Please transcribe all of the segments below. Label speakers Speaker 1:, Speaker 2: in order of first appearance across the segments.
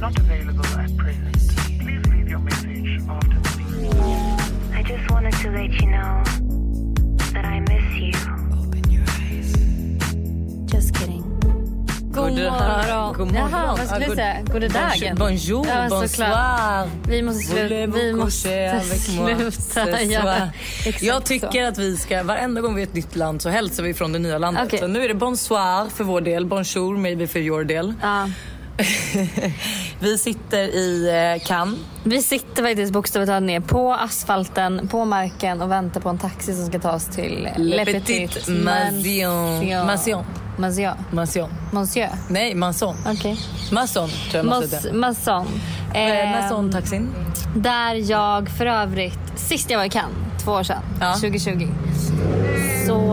Speaker 1: not available at present. Please leave your message after the beep.
Speaker 2: I just wanted to let you know that I miss you. Just kidding.
Speaker 3: God morgon.
Speaker 4: God morgon.
Speaker 3: Jaha, vad skulle
Speaker 4: Ja,
Speaker 3: jag
Speaker 4: god-
Speaker 3: säga? God dagen.
Speaker 4: Bonjour,
Speaker 3: Ja,
Speaker 4: bonsoir.
Speaker 3: såklart. Vi måste
Speaker 4: Voulez
Speaker 3: sluta.
Speaker 4: vous
Speaker 3: Vi
Speaker 4: coucher
Speaker 3: måste
Speaker 4: avec moi ce
Speaker 3: sluta.
Speaker 4: soir?
Speaker 3: Ja, exakt så.
Speaker 4: jag tycker att vi ska, varenda gång vi är ett nytt land så hälsar vi från det nya landet.
Speaker 3: Okej.
Speaker 4: Så nu är det bonsoir för vår del, bonjour maybe för your del.
Speaker 3: Ja.
Speaker 4: vi sitter i eh, Cannes.
Speaker 3: Vi sitter faktiskt bokstavligt talat ner på asfalten, på marken och väntar på en taxi som ska ta oss till eh,
Speaker 4: Le
Speaker 3: Le
Speaker 4: Petit
Speaker 3: Petit
Speaker 4: Mansion. Mansion.
Speaker 3: Mansion. Mansion.
Speaker 4: Mansion.
Speaker 3: Monsieur.
Speaker 4: Nej, Manson.
Speaker 3: Okej.
Speaker 4: Manson tror jag man
Speaker 3: Mas-
Speaker 4: säger.
Speaker 3: Masson.
Speaker 4: Eh,
Speaker 3: Ehm,
Speaker 4: Manson-taxin.
Speaker 3: Där jag för övrigt, sist jag var i Cannes, två år sedan,
Speaker 4: Ja.
Speaker 3: 2020. Så, um,
Speaker 5: Hon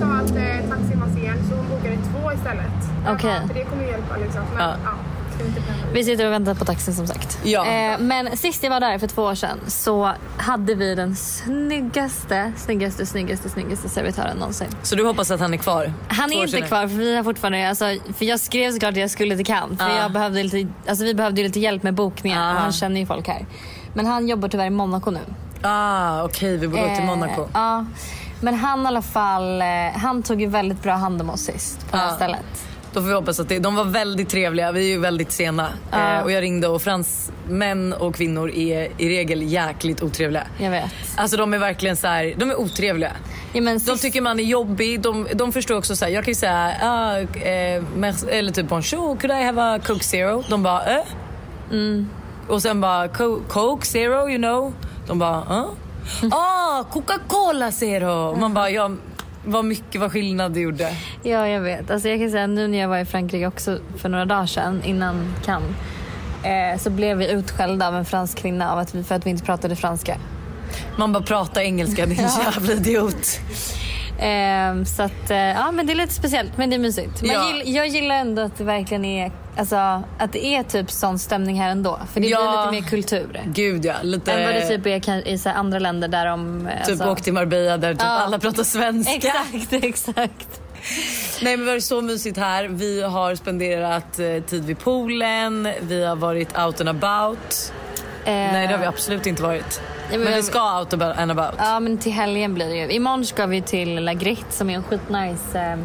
Speaker 5: sa att eh, taxin var sen så hon bokade två istället.
Speaker 3: Okej.
Speaker 5: För det kommer hjälpa liksom. Men
Speaker 4: Ja.
Speaker 5: ja, ska vi inte bränna ut.
Speaker 3: vi sitter och väntar på taxin som sagt.
Speaker 4: Ja.
Speaker 3: Eh, men sist jag var där för två år sedan så hade vi den snyggaste, snyggaste, snyggaste, snyggaste servitören någonsin.
Speaker 4: Så du hoppas att han är kvar?
Speaker 3: Han
Speaker 4: Två
Speaker 3: är
Speaker 4: år
Speaker 3: inte
Speaker 4: senare.
Speaker 3: kvar för vi har fortfarande, alltså, för jag skrev såklart att jag skulle till Cannes. För
Speaker 4: Ah.
Speaker 3: jag behövde lite, alltså, vi behövde ju lite hjälp med bokningen
Speaker 4: Ah.
Speaker 3: och han känner ju folk här. Men han jobbar tyvärr i Monaco nu.
Speaker 4: Ah, Okej, vi borde gå till
Speaker 3: Eh,
Speaker 4: Monaco.
Speaker 3: Ja. Men han i alla fall, eh, han tog ju väldigt bra hand om oss sist på det här
Speaker 4: Ja.
Speaker 3: stället.
Speaker 4: Då får vi hoppas att det, de var väldigt trevliga. Vi är ju väldigt sena.
Speaker 3: Ah.
Speaker 4: Eh, och jag ringde och fransmän och kvinnor är i regel jäkligt otrevliga.
Speaker 3: Jag vet.
Speaker 4: Alltså de är verkligen så här, de är otrevliga.
Speaker 3: Ja, men
Speaker 4: De
Speaker 3: sist,
Speaker 4: tycker man är jobbig. De, de förstår också så här, jag kan ju säga ah, eh, merci, eller typ bonjour, could I have a Coke Zero? De bara eh?
Speaker 3: Mm.
Speaker 4: Och sen bara "Co- Coke Zero, you know? De bara eh?
Speaker 3: Mm.
Speaker 4: Ah, Coca-Cola Zero! Man bara ja, vad mycket, vad skillnad det gjorde.
Speaker 3: ja, jag vet. Alltså, jag kan säga nu när jag var i Frankrike också för några dagar sedan innan Cannes. Eh, så blev vi utskällda av en fransk kvinna av att vi, för att vi inte pratade franska.
Speaker 4: Man bara prata engelska din jävla idiot.
Speaker 3: Ehm, så att, eh, ja men det är lite speciellt men det är mysigt. Man
Speaker 4: Ja.
Speaker 3: gill, jag gillar ändå att det verkligen är, alltså, att det är typ sån stämning här ändå. För det
Speaker 4: Ja.
Speaker 3: blir lite mer kultur.
Speaker 4: Gud ja, lite...
Speaker 3: Än vad det typ är kan- i så här andra länder där de... eh,
Speaker 4: Typ
Speaker 3: alltså,
Speaker 4: åk till Marbella där typ
Speaker 3: Ja.
Speaker 4: alla pratar svenska.
Speaker 3: Exakt, exakt.
Speaker 4: Nej men det var så mysigt här. Vi har spenderat eh, tid vid poolen, vi har varit out and about. Nej det har vi absolut inte varit.
Speaker 3: Eh. men-
Speaker 4: men, vi ska out abo- and about.
Speaker 3: Ja men till helgen blir det ju. Imorgon ska vi till La Grette som är en skitnice eh,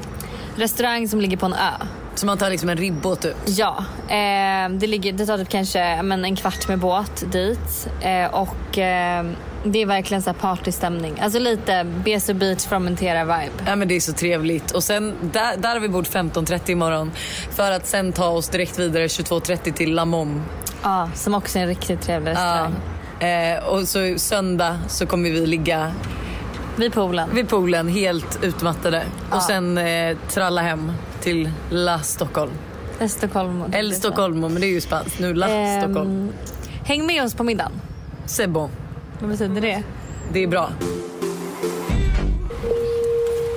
Speaker 3: restaurang som ligger på en ö.
Speaker 4: Så man tar liksom en ribbåt ut.
Speaker 3: Ja, eh, det, ligger, det tar typ kanske men, en kvart med båt dit. Eh, och eh, det är verkligen så här partystämning. Alltså lite BSO Beach Formentera-vibe.
Speaker 4: Ja men det är så trevligt. Och sen där, där har vi bord 15.30 imorgon. För att sen ta oss direkt vidare 22.30 till La Mom.
Speaker 3: Ja, som också är en riktigt trevlig
Speaker 4: Ja.
Speaker 3: restaurang.
Speaker 4: Eh, och så söndag så kommer vi ligga
Speaker 3: Vid poolen.
Speaker 4: vid poolen helt utmattade och sen eh, tralla hem till La Stockholm.
Speaker 3: Eh, Stockholm.
Speaker 4: Eller Stockholm, men det är ju spanskt. Nu La
Speaker 3: Ehm,
Speaker 4: Stockholm.
Speaker 3: Häng med oss på middagen.
Speaker 4: C'est bon.
Speaker 3: Vad betyder det?
Speaker 4: Det är bra.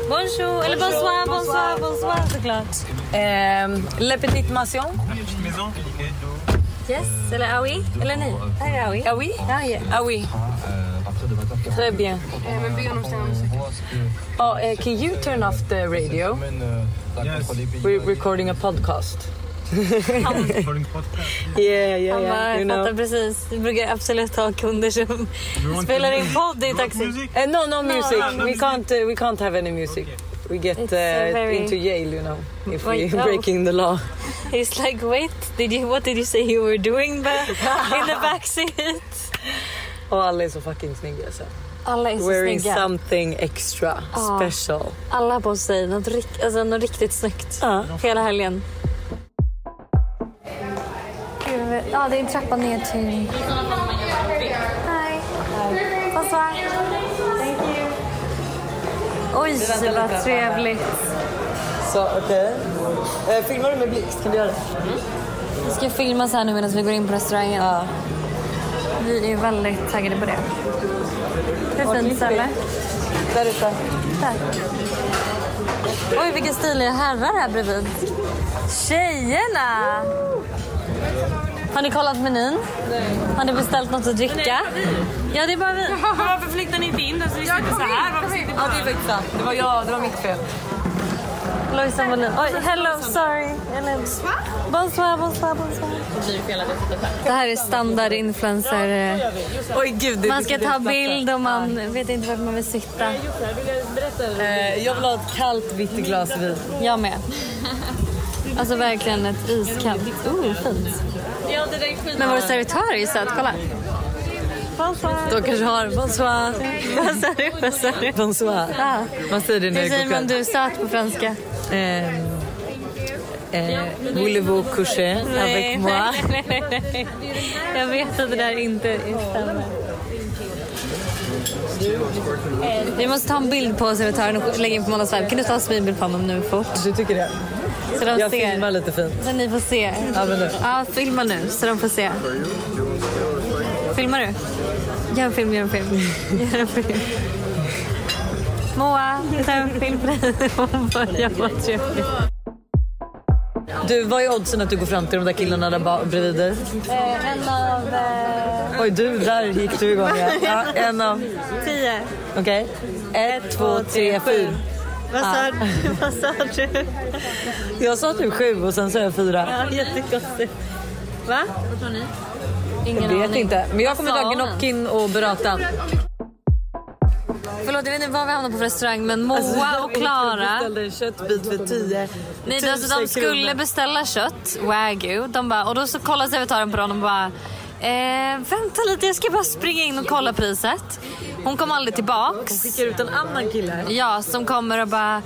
Speaker 3: Bonjour, eller bonsoir, bonsoir, bonsoir såklart. Ehm,
Speaker 4: Eh, Le Petit Mansion.
Speaker 3: Yes, eller ah oui, eller nej. Här är ah oui.
Speaker 4: Ah oui?
Speaker 3: Ah, yeah.
Speaker 4: Ah oui. Très bien.
Speaker 5: Eh, Men be honom ställa om cykeln.
Speaker 4: Oh, eh, can you turn off the radio? We're recording a podcast. yeah, yeah,
Speaker 3: Han
Speaker 4: yeah.
Speaker 3: bara,
Speaker 4: You
Speaker 3: jag fattar
Speaker 4: know.
Speaker 3: precis. Vi brukar absolut ha kunder som spelar in podd i taxi.
Speaker 4: Eh, no, no music. We can't. Uh, we can't have any music. We get uh,
Speaker 3: It's, uh, very-
Speaker 4: into Yale, you know, if
Speaker 3: Wait,
Speaker 4: we're
Speaker 3: no.
Speaker 4: breaking the law.
Speaker 3: He's like, wait, did you, what did you say you were doing ba- in the backseat?
Speaker 4: Och alla är så fucking snygga. Så.
Speaker 3: Alla är så
Speaker 4: Wearing
Speaker 3: snygga.
Speaker 4: something extra
Speaker 3: Ja.
Speaker 4: special.
Speaker 3: Alla har på sig något, rik- alltså, något riktigt snyggt hela helgen. Ja, det är en trappa ner till... Hi. Bonsoir. Thank you. Oj, vad trevligt.
Speaker 4: Så okej. Eh, filmar du med blixt? Kan du göra det?
Speaker 3: Vi ska filmas här nu medan vi går in på restaurangen. Vi är väldigt taggade på det. Det är fint ställe.
Speaker 4: Där ute.
Speaker 3: Tack. Oj, vilka stiliga herrar här bredvid. Tjejerna! Har ni kollat menyn? Har ni beställt något att dricka? Ja, det är bara vi.
Speaker 6: Varför flyttar ni inte in den så vi sitter så här? Varför sitter
Speaker 4: Ja, det är faktiskt sant. Det var jag, det var mitt fel.
Speaker 3: Lojsan Wallin. Oj, hello, sorry. Eller, bonsoir, bonsoir, bonsoir. Det här är standard influencer.
Speaker 4: Oj gud. det-
Speaker 3: Man ska
Speaker 4: det-
Speaker 3: ta bild och man vet inte vart man vill sitta.
Speaker 4: Eh, Jag vill ha ett kallt vitt glas vin.
Speaker 3: Jag med. Alltså verkligen ett iskallt. Oh, fint. Men vår servitör är ju söt, kolla.
Speaker 4: De kanske har bonsoir.
Speaker 3: Vad sa du? Vad sa du?
Speaker 4: Bonsoir.
Speaker 3: Ah.
Speaker 4: Man säger det när
Speaker 3: Hur
Speaker 4: det
Speaker 3: säger
Speaker 4: går
Speaker 3: man
Speaker 4: kväll.
Speaker 3: du är söt på franska?
Speaker 4: Eh, eh, Voulez-vous coucher avec moi?
Speaker 3: nej, nej, nej. Jag vet att det där inte stämmer. Vi måste ta en bild på servitören och lägga in på Måndags Kan du ta en smygbild på honom nu fort?
Speaker 4: Du tycker det?
Speaker 3: Så de
Speaker 4: Jag
Speaker 3: ser.
Speaker 4: filmar lite fint.
Speaker 3: Så ni får se.
Speaker 4: Ja, men nu.
Speaker 3: Ja, filma nu så de får se. Filmar du? Gör en film, gör en film. Gör en film. Moa, vi tar en film på dig. Hon bara, jag var trevlig.
Speaker 4: Du, vad är oddsen att du går fram till de där killarna där ba- bredvid dig?
Speaker 3: Eh, En av eh,
Speaker 4: Oj, du, där gick du igång. Ja. Ja, en av...
Speaker 3: tio.
Speaker 4: Okej. Ett, två, tre, fyra. Ah.
Speaker 3: Vad sa, vad sa du?
Speaker 4: Jag sa typ sju och sen sa jag fyra.
Speaker 3: Jättekonstigt. Va? Vad tror ni? Ingen
Speaker 4: Jag vet inte. Men jag kommer
Speaker 3: Vad sa Oh,
Speaker 4: ta
Speaker 3: hon?
Speaker 4: gnockin och burratan.
Speaker 3: Förlåt, jag vet inte var vi hamnade på restaurang men Moa och
Speaker 4: Alltså, Jag
Speaker 3: Klara.
Speaker 4: beställde en köttbit för tio.
Speaker 3: Nej, det- alltså, de skulle beställa kött, wagyu. De bara, och då så kollade servitören på honom och bara eh, “Vänta lite, jag ska bara springa in och kolla priset”. Hon kom aldrig tillbaks.
Speaker 4: Skickar ut en annan kille.
Speaker 3: Ja, som kommer och bara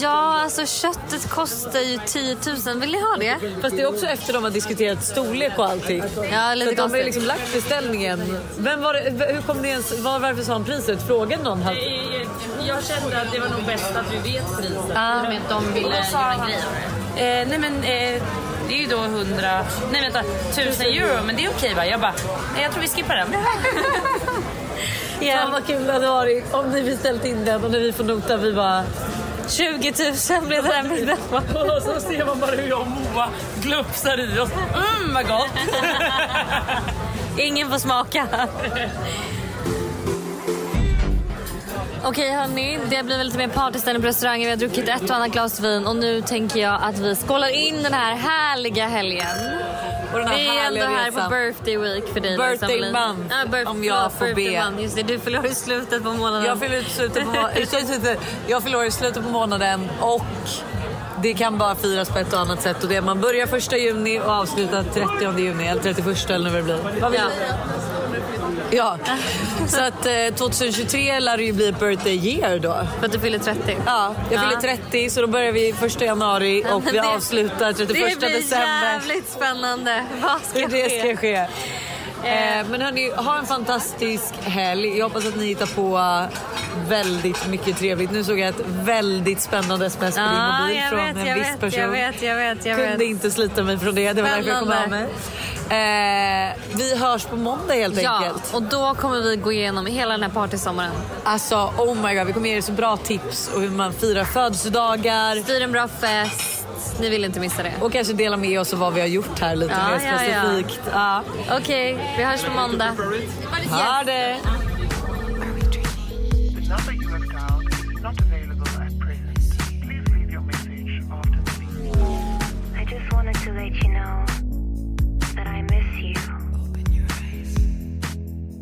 Speaker 3: “Ja, alltså köttet kostar ju 10 000, vill ni ha det?”
Speaker 4: Fast det är också efter de har diskuterat storlek och allting.
Speaker 3: Ja, lite
Speaker 4: För de har ju
Speaker 3: konstigt.
Speaker 4: liksom lagt beställningen. Vem var det, hur kom det ens, var, varför sa han priset? Frågade någon? Han,
Speaker 6: Jag kände att det var nog bäst att vi vet priset.
Speaker 3: Ja.
Speaker 6: Men de ville göra en grej av det. Eh, nej men eh, det är ju då 100, nej vänta, 1000 euro men det är okej va? Jag bara, nej jag tror vi skippar den.
Speaker 4: Fan vad kul det hade varit om ni beställt in den och när vi får nota vi bara...
Speaker 3: 20 000 blev det där middagen.
Speaker 6: Och så ser man bara hur jag och Moa glupsar i oss. Mm vad gott!
Speaker 3: Ingen får smaka. Okej hörni, det blir väl lite mer partystämning på restaurangen. Vi har druckit ett och annat glas vin och nu tänker jag att vi skålar in den här härliga helgen.
Speaker 4: Och den här
Speaker 3: Vi är ändå
Speaker 4: härliga
Speaker 3: här
Speaker 4: resan.
Speaker 3: på birthday week för dig Lisa
Speaker 4: Birthday
Speaker 3: Melin.
Speaker 4: month,
Speaker 3: Ja, birth-
Speaker 4: om jag
Speaker 3: förlåt,
Speaker 4: får
Speaker 3: birthday
Speaker 4: be.
Speaker 3: month. Just det, du förlorar i slutet på månaden.
Speaker 4: Jag fyller ut i slutet på, må- i slutet- jag fyller år i slutet på månaden och det kan bara firas på ett och annat sätt. Och det, är- man börjar första juni och avslutar 30 juni eller 31 eller vad det blir. Vad vill
Speaker 3: Ja.
Speaker 4: du? ja. Så att eh, 2023 lär det ju bli ett birthday year då.
Speaker 3: För att du fyller 30.
Speaker 4: Ja, jag fyller 30 så då börjar vi 1 januari och vi
Speaker 3: Det-
Speaker 4: avslutar 31
Speaker 3: Det blir
Speaker 4: december.
Speaker 3: jävligt spännande. Vad ska
Speaker 4: Hur det ska
Speaker 3: ske?
Speaker 4: ske. Eh, men hörni, ha en fantastisk helg. Jag hoppas att ni hittar på eh, väldigt mycket trevligt. Nu såg jag ett väldigt spännande sms på din
Speaker 3: Ja,
Speaker 4: mobil
Speaker 3: jag
Speaker 4: från
Speaker 3: vet, jag
Speaker 4: en viss
Speaker 3: vet,
Speaker 4: person.
Speaker 3: jag vet, jag vet, jag
Speaker 4: Kunde
Speaker 3: vet.
Speaker 4: inte slita mig från det. Det var därför jag kom av mig.
Speaker 3: Spännande.
Speaker 4: Eh, vi hörs på måndag helt
Speaker 3: Ja,
Speaker 4: enkelt.
Speaker 3: och då kommer vi gå igenom hela den här partysommaren.
Speaker 4: Alltså oh my god, vi kommer ge er så bra tips och hur man firar födelsedagar.
Speaker 3: Styr en bra fest. Ni vill inte missa det.
Speaker 4: Och kanske dela med oss av vad vi har gjort här lite
Speaker 3: Ja,
Speaker 4: mer
Speaker 3: ja, ja.
Speaker 4: specifikt. Ja,
Speaker 3: Okej, vi hörs på måndag.
Speaker 4: Ha det!
Speaker 1: The number you have dialed is not available at present. Please leave your message after the beep.
Speaker 2: I just wanted to let you know that I miss you.